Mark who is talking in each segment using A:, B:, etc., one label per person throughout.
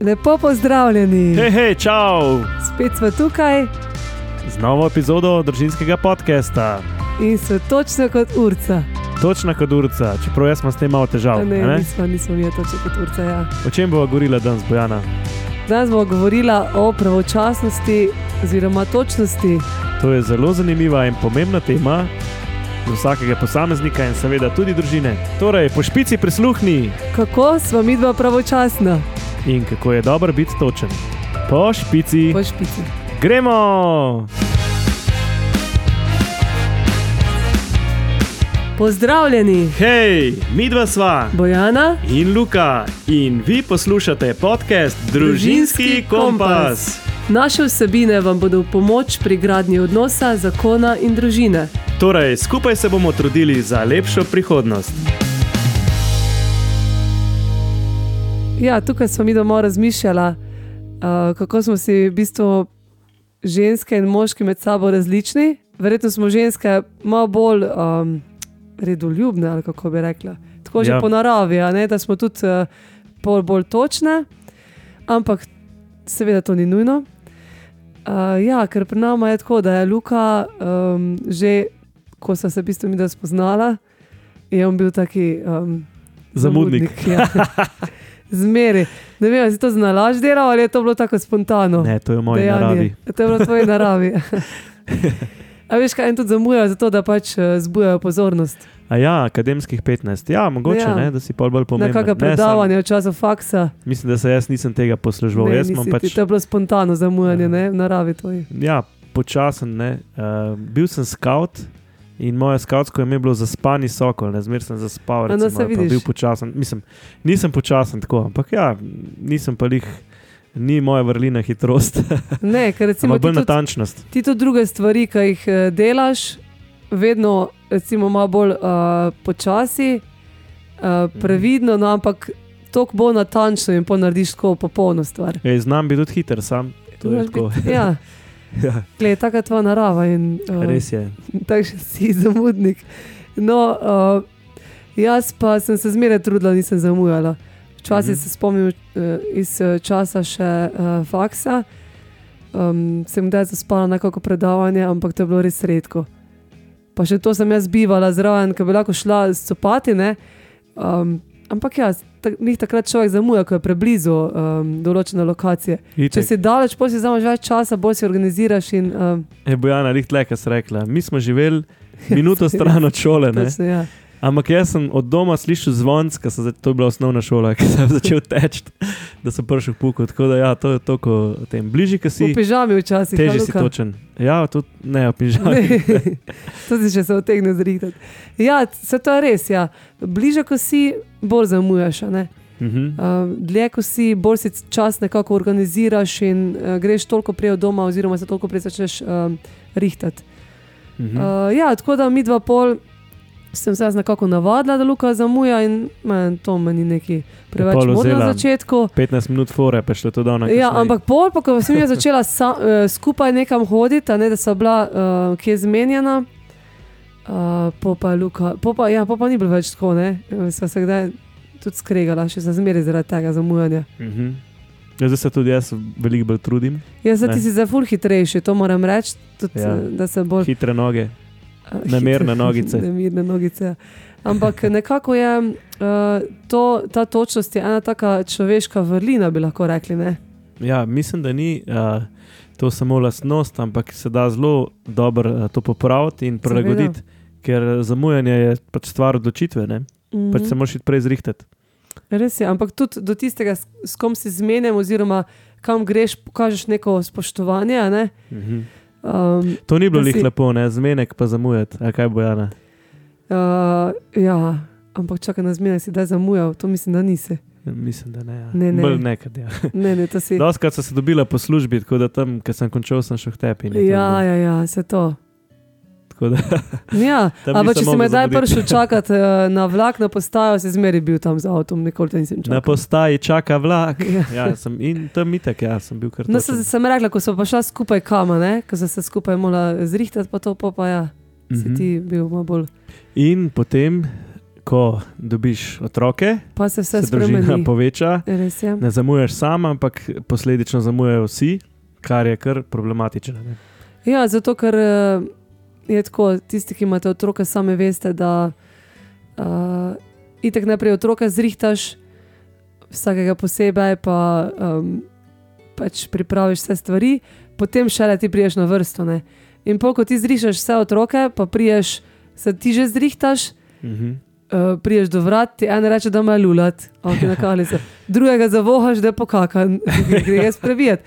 A: Lepo pozdravljeni,
B: Hej, hej, čau!
A: spet smo tukaj
B: Z novo epizodo družinskega podcasta.
A: in smo točno kot urca.
B: Točna kot urca, čeprav jaz imam s tem malo težav.
A: A
B: a
A: Ne, nismo, nismo mi točno kot urca. Ja.
B: O čem bova govorila danes, Bojana?
A: Danes bomo govorila o pravočasnosti oziroma točnosti.
B: To je zelo zanimiva in pomembna tema za vsakega posameznika in seveda tudi družine. Torej, po špici prisluhni
A: Kako smo mi dva pravočasna
B: in kako je dobro biti točen. Po špici
A: po špici?
B: gremo!
A: Pozdravljeni,
B: Hej, mi dva sva
A: Bojana.
B: in Luka in vi poslušate podcast
A: Družinski kompas. Naše vsebine vam bodo v pomoč pri gradnji odnosa, zakona in družine.
B: Torej, skupaj se bomo trudili za lepšo prihodnost.
A: Ja, tukaj smo mi doma razmišljali, uh, kako smo si v bistvu ženske in moški med sabo različni. Verjetno smo ženske malo bolj um, redoljubne, ali kako bi rekla. Tako že
B: Ja.
A: ja. po naravi, a ne, da smo tudi uh, pol bolj točne, ampak seveda to ni nujno. Uh, ja, ker pri nama je tako, da je Luka um, že, ko sem se v bistvu mi da spoznala, je on bil taki. Um,
B: Zamudnik.
A: ja. Zmeri. Ne vem, ali si to znalaš delal ali je to bilo tako spontano.
B: Ne, to je v moji
A: dejanje.
B: naravi.
A: To je bilo v tvoji naravi. A veš, kaj jim tudi zamujajo, zato da pač eh, zbujajo pozornost.
B: A ja, akademskih 15. Ja, mogoče
A: Ja.
B: ja. ne, da si pol bolj
A: Pomembno. Na
B: pomemben.
A: kakšno
B: Ne, sam,
A: predavanje v času faksa.
B: mislim, da se jaz nisem tega posluževal.
A: ne,
B: jaz
A: nisi
B: imam
A: ti.
B: pač
A: To je bilo spontano zamujanje,
B: Ja.
A: ne, v naravi tvoji.
B: ja, počasen. Ne. Uh, bil sem scout in moje scoutsko ime je bilo zaspani sokol, ne zmer sem zaspal.
A: A, no,
B: Recimo,
A: se
B: ali pa
A: vidiš.
B: Bil počasen. Mislim, nisem počasen tako, ampak ja, nisem pa jih. Ni moja vrlina hitrost,
A: Ne, ker recimo
B: ampak
A: ti
B: bolj
A: tudi,
B: natančnost.
A: ti tudi druge stvari, ki jih eh, delaš, vedno recimo malo bolj uh, počasi, uh,
B: Mhm.
A: previdno, no, ampak toliko bolj natančno in pa narediš tako popolno stvar.
B: Ej, znam biti tudi hiter, sam. To je
A: Moraš
B: tako.
A: biti- Ja.
B: Ja.
A: Glej, Taka je tvoja narava in uh,
B: Res je.
A: takšen si zamudnik. No, uh, jaz pa sem se zmeraj trudila, nisem zamujala. Včasih mm
B: Mhm.
A: -hmm. se spomnim uh, iz eh, časa še uh, faksa. Um, sem kdaj zaspala na kakšno predavanje, ampak to je bilo res redko. Pa še to sem jaz bivala zraven, ker bi lahko šla scopati. ne. Um, ampak ja, tak, njih takrat človek zamuja, ko je preblizu um, določene lokacije. Če
B: Itak.
A: si daleč, bolj si vzameš več časa, bolj si organiziraš. In, um,
B: Je Bojana Rihtleka rekla, mi smo živeli minuto stran od šole. Ne?
A: točno, ja.
B: Ampak jaz sem od doma slišal zvonc, ker sem za- to je bila osnovna šola, ki sem začel teči, da sem prišel v puku. Tako da ja, to je to, ko tem bližje, ki
A: V
B: si,
A: pižami včasih.
B: teže
A: ja,
B: si
A: Luka?
B: točen. Ja, tudi ne, opižal.
A: Ne. to si še se otegne zrihtati. Ja, se to je res. Ja. Bliže, ko si, bolj zamujaš. a ne.
B: Mhm.
A: Um, dlje, ko si, bolj si čas nekako organiziraš in uh, greš toliko prej od doma, oziroma se toliko prej začneš um, rihtati.
B: Mhm.
A: Uh, ja, tako da mi dva pol. Sem se jaz nekako navadila, da Luka zamuja in man, to meni neki preveč
B: pol
A: modno na
B: vzela
A: začetku.
B: 15 minut fore, pa še to dol na
A: Ja, ampak bolj, pa, ko sem jaz začela sa, eh, skupaj nekam hoditi, a ne, da so bila uh, kje zmenjena, uh, popa je Luka, popa, ja, popa ni bilo več tako, ne, Eh, sva se kdaj tudi skregala, še sem zmeraj zaradi tega zamujanja.
B: Mhm. Ja, zdaj se tudi jaz veliko bolj trudim,
A: Jaz sem
B: Ne.
A: Ja, ti si za fur hitrejši, to moram reči, tudi,
B: Ja.
A: ja. da se bolj
B: hitre noge.
A: A,
B: Namerne
A: hitro-
B: nogice.
A: Namerne nogice. ja. Ampak nekako je uh, to, ta točnost je ena taka človeška vrlina, bi lahko rekli. Ne?
B: Ja, mislim, da ni uh, to samo lastnost, ampak se da zelo dobro uh, to popraviti in
A: Seveda.
B: prilagoditi, ker eh, zamujanje je pač stvar odločitve, ne?
A: Mhm.
B: pač se moraš iti prej zrihtati.
A: Res je, ampak tudi do tistega, s, s kom si zmenjen, oziroma kam greš, pokažeš neko spoštovanje. a Ne?
B: Mhm.
A: Um,
B: To ni bilo
A: Da
B: lih
A: si-
B: lepo, ne? zmenek pa zamujati, a kaj bo Jana.
A: uh, ja, ampak čakaj na zmenjen, si da zamujal, to mislim, da nisi.
B: Mislim, da ne. Ja.
A: Ne, ne.
B: Bolj nekad, ja.
A: Ne, ne, to si.
B: Doskrat sem se dobila po službi, tako da tam, ko sem končal, sem še v tepi.
A: Ja, ja, ja, se to.
B: Da,
A: Ja,
B: Tam
A: ampak če si
B: nisem mogel
A: me zdaj
B: zamuditi.
A: prišel čakati eh, na vlak, na postajo, si zmeri bil tam z avtom, nikoli te nisem
B: na
A: čakal.
B: postaji čaka vlak.
A: Ja.
B: Ja, sem, in tam itek, ja, sem bil kar.
A: No,
B: točen.
A: sem, sem rekla, ko so pa šla skupaj kama, ne? ko so se skupaj morala zrihtati, pa to pa, pa ja, si
B: Mhm.
A: ti bil malo bolj.
B: In potem, ko dobiš otroke,
A: pa se vse
B: se družina
A: spremeni.
B: poveča,
A: Res je.
B: ne zamujaš sam, ampak posledično zamujajo vsi, kar je kar problematično. Ne?
A: Ja, zato ker eh, je tako, tisti, ki imate otroke, sami veste, da uh, itek najprej otroka zrihtaš, vsakega posebej, pa um, pač pripraviš vse stvari, potem šele ti priješ na vrsto. Ne? In pol, ko ti zrišeš vse otroke, pa priješ, se ti že zrihtaš.
B: Mhm.
A: Uh, priješ do vrat, ti en reče, da ima lulat, okay, na kalice. drugega zavohaš, da je pokakan, gre jaz prebijati.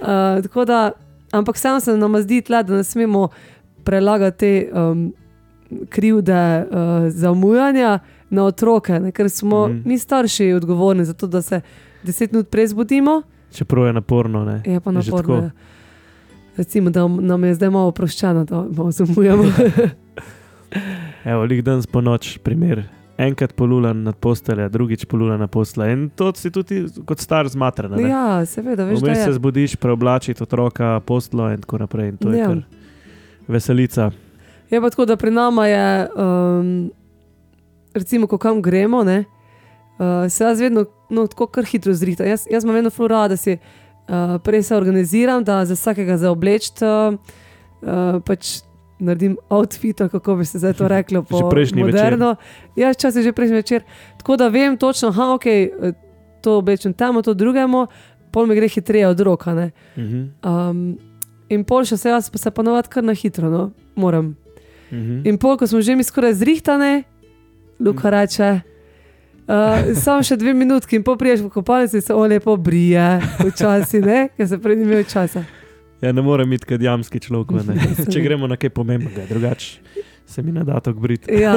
A: Uh, tako da, ampak sam se nam zdi tle, da ne smemo prelagati te um, krivde uh, zamujanja na otroke, ne, ker smo mm.
B: Mhm.
A: mi starši odgovorni za to, da se deset minut prej zbudimo,
B: Čeprav je naporno. Ne?
A: je pa
B: Je že
A: naporno.
B: tako.
A: ja. Recimo, da nam je zdaj malo oproščeno, da malo zamujamo.
B: Ja, Evo, lik danes po noč, primer. Enkrat polulan nad postelja, drugič polulan na posla. In to si tudi kot star zmatran. Ja,
A: ja, seveda, veš, da
B: Vmes se
A: je.
B: zbudiš, preoblačiti otroka, poslo in tako naprej. In to je
A: Ja.
B: kar veselica.
A: Je pa tako, da pri nama je, um, recimo, ko kam gremo, ne, uh, se jaz vedno no, tako kar hitro zrihtam. Jaz, jaz imam vedno flora, da si uh, prej se organiziram, da za vsakega zaoblečem, uh, uh, pač naredim outfit, ali kako bi se zdaj to reklo, po
B: Že prejšnji večer.
A: moderno. Večer. Ja, včasih že prejšnji večer. Tako da vem točno, aha, ok, eh, to oblečem temu, to drugemu, pol mi gre hitreje od roka. Ne.
B: Mhm.
A: Um, in pol še se jaz pa se ponovadi kar na hitro, no, moram.
B: Mhm.
A: In pol, ko smo že mi skoraj zrihtane, Luka
B: Mm.
A: reče. Uh, samo še dve minutki, in popriješ v kopalnici, se o lepo brije, včasih ne, ker se prej ni imel časa.
B: Ja, ne morem biti kot jamski človek, a
A: Ja,
B: ne. če gremo na kaj pomembnega, drugače se mi ne da tako briti.
A: Ja.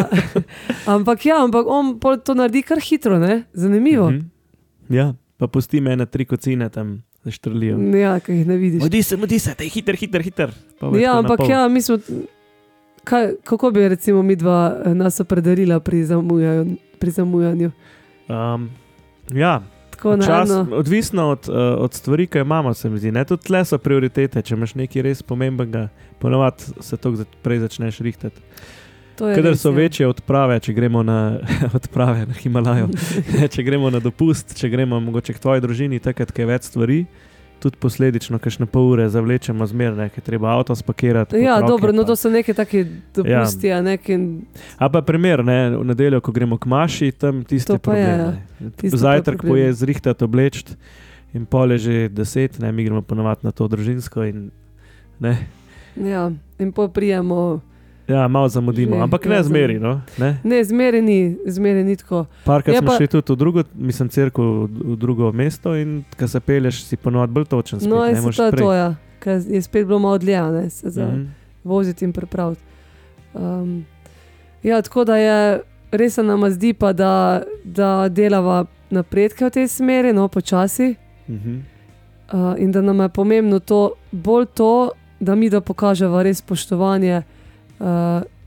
A: Ampak ja, ampak on pol to naredi kar hitro, ne? zanimivo. Mm
B: Mhm. Ja, pa pusti me na tri kocine tam, da štrlijo.
A: -hmm. Ja, ki jih ne vidiš.
B: Mudi se, mudi se, te hiter, hiter, hiter. Pa bo
A: Ja,
B: tako
A: ampak
B: napol.
A: ja, mi smo, kaj, kako bi recimo mi dva eh, nas opredelila pri, zamujanju- pri zamujanju.
B: Um, ja,
A: Tako na
B: Čas,
A: eno.
B: odvisno od, uh, od stvari, ki jo imamo, se mi zdi. Ne? Tudi tle so prioritete, če imaš nekaj res pomembnega, ponovadi se to prej začneš rihtati.
A: to je
B: Kadar
A: res,
B: so
A: ja.
B: večje odprave, če gremo na odprave na Himalajo, če gremo na dopust, če gremo mogoče k tvoji družini, takrat, ko je več stvari. Tudi posledično, kajšne pol ure zavlečemo zmerno, ker je treba avto spakirati.
A: Ja,
B: otroke
A: dobro, no
B: pa-
A: to so neke take dopusti, ja. neki
B: A pa primer, ne, v nedeljo, ko gremo k maši, tam tiste
A: To pa je,
B: probleme.
A: tisto pa je
B: Zajtrk
A: problem.
B: poje zrihtati, obleči in pol je že deset, ne, mi gremo ponovadi na to družinsko in ne,
A: Ja, in pa prijemo.
B: ja, malo zamudimo,
A: Že,
B: ampak ne
A: ja,
B: zmeri. No, ne.
A: Ne, zmeri ni, zmeri ni tako.
B: Parkrat
A: Je
B: smo
A: Ja, pa-
B: šli tudi v drugo, mislim, crkvo, v drugo mesto in ko se peleš, si ponovadi bolj točen. Spet,
A: No,
B: ne,
A: in se
B: moraš
A: to je
B: prej.
A: to, ja, ker je spet bilo malo dlje, ne, se za mm.
B: Mhm.
A: voziti in prepraviti. Um, ja, tako da je res se nam zdi, pa da, da delava napredke v tej smeri, no, počasi.
B: Mhm.
A: Uh, in da nam je pomembno to, bolj to, da mi da pokažemo res spoštovanje uh,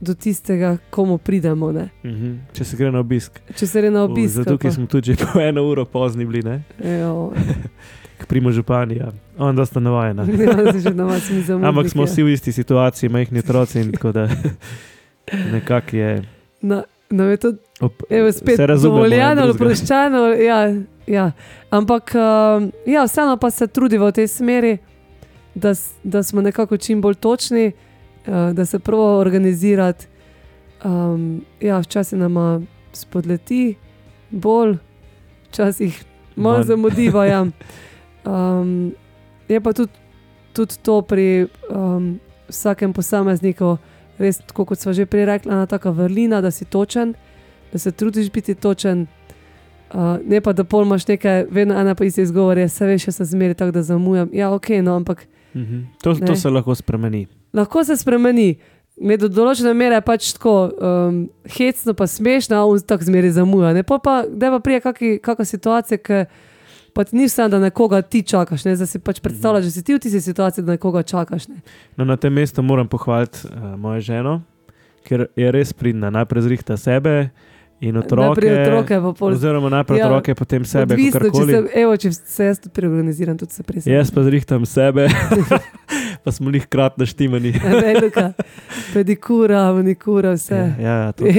A: do tistega, komu pridemo. Ne.
B: Mhm. Če se gre na obisk.
A: Če se gre na
B: U,
A: obisk,
B: Zato
A: ali pa- Ja,
B: ker smo tudi že po eno uro pozni bili, ne?
A: Evo,
B: k primu županija. Onda sta navajena.
A: Ja, že na vas mi zamudniki.
B: Ampak smo vsi v isti situaciji, majhni otroci in tako da nekako je.
A: Na, nam je to
B: Op,
A: evo, spet
B: se razumemo, en
A: dovoljeno,
B: drugega.
A: oproščeno. Ja, ja. Ampak um, ja, vseeno pa se trudimo v tej smeri, da, s- da smo nekako čim bolj točni, uh, da se prvo organizirati. Um, ja, včasih nam spodleti bolj, včasih malo
B: Manj.
A: zamudiva. Ja. Um, je pa tudi, tudi to pri um, vsakem posamezniku, res, tako kot smo že prej rekli, ena taka vrlina, da si točen, da se trudiš biti točen. Uh, ne pa, da pol imaš nekaj, vedno ena pa iste izgovore, se veš, jaz sem zmeri tako, da zamujam. Ja, ok, no, ampak
B: Mhm. To,
A: Ne.
B: to se lahko spremeni.
A: lahko se spremeni. Ne do določene mere je pač tako um, hecno, pa smešno, a on tako zmeri zamuja. Ne Pol pa, da pa prije kaki- kakšna situacija, ki pa ti ni vseeno, da nekoga ti čakaš, ne? da si pač predstavljaš, da si ti v tisti situaciji, da nekoga čakaš. Ne?
B: No, na tem mestu eh, moram pohvaliti uh, mojo ženo, ker je res pridna. Najprej zrihta sebe, In otroke,
A: Najprej otroke, pa pol
B: oziroma najprej
A: Ja,
B: otroke, potem sebe,
A: Odvisno, če
B: kakorkoli.
A: se, evo, če se jaz tudi preorganiziram, tudi se presežem.
B: Jaz pa zrihtam sebe, pa smo jih krat naštimani.
A: Ne, Luka, pedikura, manikura, vse.
B: Ja, ja, to.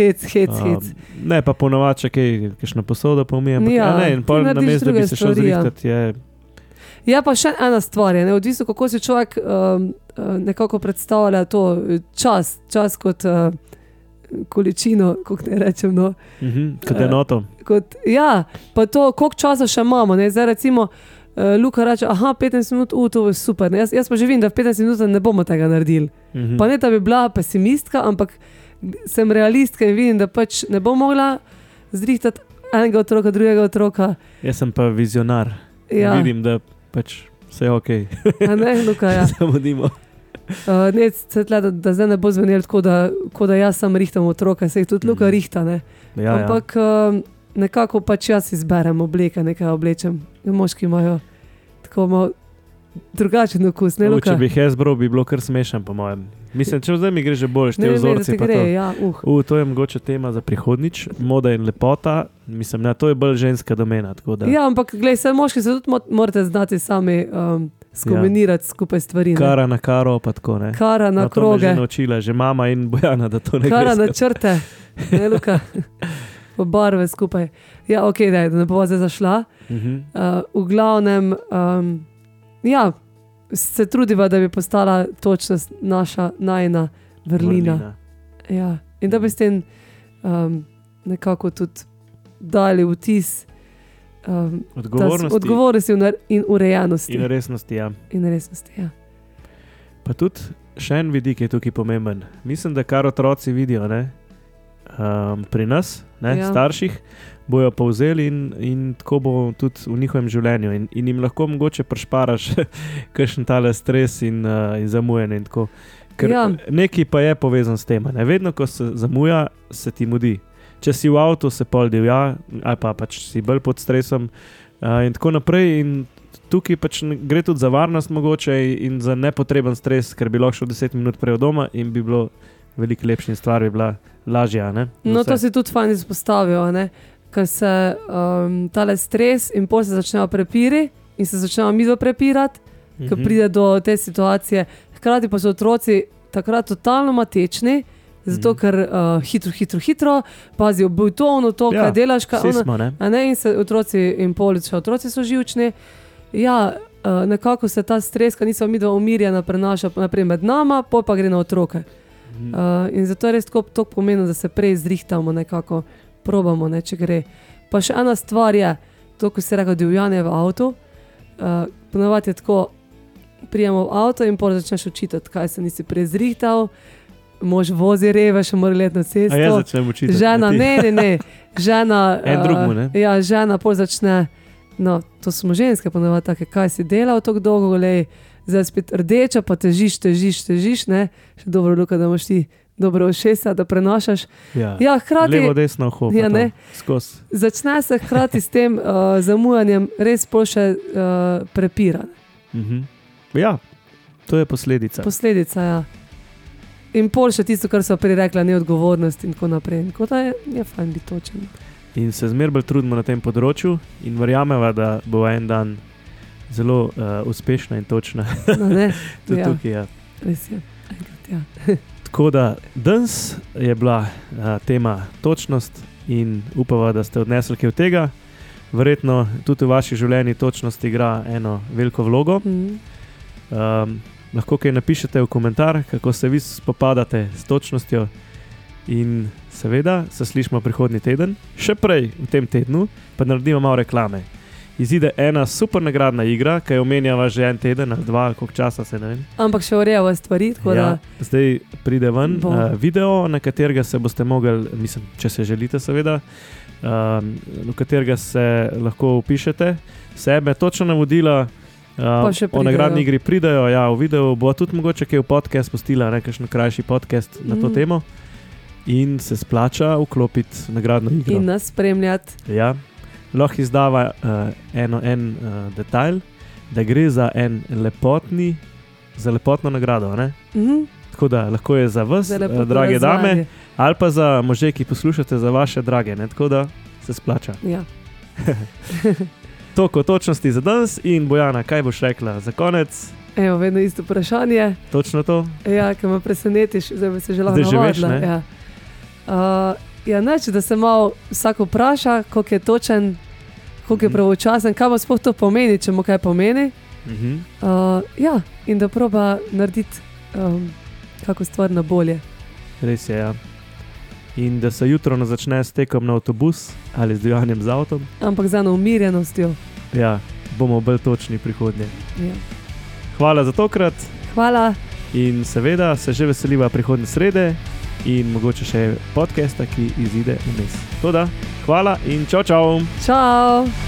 A: hec, hec,
B: Um,
A: hec.
B: ne, pa ponovadi, če kaj, kakšno posodo pomijem. ampak
A: Ja,
B: Ja, ne, in
A: ti
B: pol na
A: narediš
B: mestu, da
A: druge
B: bi se šel
A: stvari, ja.
B: zrihtati, je
A: Ja, pa še ena stvar je, ne, odvisno kako si človek um, eh, nekako predstavlja to eh, čas, čas kot uh, količino, kako ne rečem. No.
B: mhm, kot
A: Eh,
B: enoto.
A: Kot, ja, pa to, koliko časa še imamo. Ne? Zdaj, recimo, uh, Luka reče, aha, 15 minut, uh, to je super. Ne? Jaz, jaz pa že vem, da v 15 minutah ne bomo tega naredili.
B: Mhm.
A: Pa ne, da bi bila pesimistka, ampak sem realistka in vidim, da pač ne bom mogla zrihtati enega otroka, drugega otroka.
B: Jaz sem pa vizionar.
A: Ja,
B: Vidim, da pač vse je ok,
A: a ne, Luka, ja.
B: zamudimo.
A: Uh, ne, se tle, da, da zdaj ne bo zvenelo tako, da, ko da jaz sam rihtam otroka, se jih tudi Luka
B: Mhm.
A: rihta. Ne?
B: Ja, ja.
A: Ampak um, nekako pač jaz izberem obleke, nekaj oblečem. In moški imajo tako malo drugačen okus, ne
B: U,
A: Luka.
B: če bi jih jaz bral, bi bilo kar smešen, po mojem. Mislim, če zdaj mi gre že bolj,
A: ne
B: te vzorce.
A: se
B: pa
A: gre,
B: to.
A: ja, uh.
B: U, to je mogoče tema za prihodnič, moda in lepota. Mislim, da to je bolj ženska domena. tako da-
A: Ja, ampak gledaj, se moški se tudi mo morate znati sami um, skombinirati ja. skupaj stvari. ne.
B: Kara na karo, pa tako ne.
A: Kara na
B: No,
A: no,
B: to me
A: kroge,
B: Že naučila, že mama in Bojana, da to ne
A: kara
B: gre.
A: na črte, ne Luka. Pa Barve skupaj. Ja, ok, daj, da ne bo zdaj zašla.
B: Mhm.
A: Uh, v glavnem, um, ja, se trudiva, da bi postala točno s- naša najna vrlina. Ja. In da bi s tem um, nekako tudi dali vtis um, da s-
B: Odgovornost.
A: odgovornosti in ure- in urejenosti.
B: In resnosti, ja.
A: in resnosti ja.
B: Pa tudi še en vidik je tukaj pomemben. Mislim, da kar otroci vidijo ne, um, pri nas, ne,
A: Ja.
B: ja. starših, bojo povzeli in, in tako bo tudi v njihovem življenju. In, in jim lahko mogoče prešparaš kakšen tale stres in, uh, in zamujanje. In tako. Ker
A: Ja.
B: ja. nekaj pa je povezan s tem. a Ne. Vedno, ko se zamuja, se ti mudi. Če si v avtu, se pol divja, ali pa pač si bolj pod stresom, uh, in tako naprej. In tukaj pač ne- gre tudi za varnost, mogoče in za nepotreben stres, ker bi lahko šel 10 minut prej od doma in bi bilo veliko lepše in stvar bi bila lažja. Ne? Za
A: No,
B: vse.
A: to si tudi fajn izpostavil, a ne? ker se um, tale stres in pol se začnejo prepiri in se začnejo midva prepirati. ki
B: Mhm.
A: pride do te situacije. Hkrati pa so otroci takrat totalno matečni. Zato,
B: Mhm.
A: ker uh, hitro, hitro, hitro, pazi, obuj to, ono to,
B: Ja,
A: kaj delaš, kaj
B: Vsi
A: ono.
B: smo, ne?
A: A ne, in se otroci in poliče, otroci so živčni. Ja, uh, nekako se ta stres, ki nismo mi dva umirjena, prenaša naprej med nama, pol pa gre na otroke.
B: Mhm.
A: Uh, in zato je res tako tako pomembno, da se prej zrihtamo, nekako probamo, ne, če gre. Pa še ena stvar je, to, ko se reče divjanje v avtu. Uh, Ponovadi je tako, prijemo v avto in pol začneš učitati, kaj se nisi prej zrihtal, mož vozi reve, še mora letno
B: A ja, jaz
A: cesto.
B: začnem učiti.
A: Žena,
B: a ti?
A: ne, ne, ne, žena.
B: En
A: eh,
B: drugemu, ne?
A: Ja, žena pol začne. No, to smo ženske, ponovadi take, kaj si delal tako dolgo, le zdaj spet rdeča, pa težiš, težiš, težiš, ne, še dobro, Luka, da imaš ti dobro ušesa, da prenašaš.
B: Ja. ja.
A: Ja,
B: Levo,
A: hkrati
B: desno, hoho.
A: Ja, ne.
B: Skozi.
A: začne se hkrati s tem uh, zamujanjem res pol še uh, prepira.
B: Mhm. Ja, to je posledica.
A: Posledica, ja. In pol še tisto, kar so prej rekla, neodgovornost in tako naprej. In Tako da je, je fajn biti točen.
B: in se zmeraj bolj trudimo na tem področju, in verjamemo, da bo en dan zelo uh, uspešna in točna.
A: No, ne,
B: Tudi
A: ja,
B: tukaj, ja.
A: res je. Enkrat, ja.
B: Tako da danes je bila uh, tema točnost in upava, da ste odnesli kaj od tega. Verjetno tudi v vaših življenjih točnost igra eno veliko vlogo.
A: Mm.
B: Um, lahko kaj napišete v komentar, kako se vi spopadate s točnostjo. In seveda se slišmo prihodnji teden, še prej v tem tednu, pa naredimo malo reklame. Izide ena super nagradna igra, ki jo omenjava že en teden ali dva, ali koliko časa se ne vem.
A: Ampak še urejava stvari, tako da.
B: Ja, zdaj pride ven
A: Bo.
B: uh, video, na katerega se boste mogli, mislim, če se želite, seveda, um, v katerega se lahko upišete, sebe, točno navodila.
A: Pa
B: Um,
A: še
B: o
A: pridejo.
B: nagradni igri pridajo, ja, v videu bo tudi mogoče kaj v podcast postila, nekaj krajši podcast na to
A: Mm.
B: temo. In se splača vklopiti v nagradno igro.
A: in nas spremljati.
B: Ja. Lahko izdava uh, eno, en uh, detajl, da gre za en lepotni, za lepotno nagrado. a Ne?
A: Mhm.
B: Tako da lahko je za vas,
A: Zdajle pa
B: eh,
A: to
B: drage dame,
A: razvali.
B: ali pa za može, ki poslušate, za vaše drage. Ne? Tako da se splača.
A: Ja.
B: Toliko točnosti za danes in Bojana, kaj boš rekla za konec?
A: Evo, vedno isto vprašanje.
B: Točno to.
A: Ja, ki me presenetiš, zdaj bi se že lahko
B: Zdaj že veš,
A: navadila,
B: ne?
A: Ja. Uh, ja, nač, da se malo vsak vpraša, koliko je točen, koliko je
B: Mhm.
A: pravočasen, kaj mu sploh to pomeni, če mu kaj pomeni.
B: Mhm.
A: Uh, ja, in da proba narediti um, kako stvar na bolje.
B: Res je. Ja. In da se jutro ne začne s tekom na avtobus ali z dejanjem z avtom,
A: Ampak za eno umirjenostjo.
B: ja, bomo bolj točni prihodnje.
A: Ja.
B: Hvala za tokrat
A: Hvala,
B: in seveda se že veseliva prihodnje srede in mogoče še podcasta, ki izide vmes. Toda, hvala in čau, čau!
A: čau!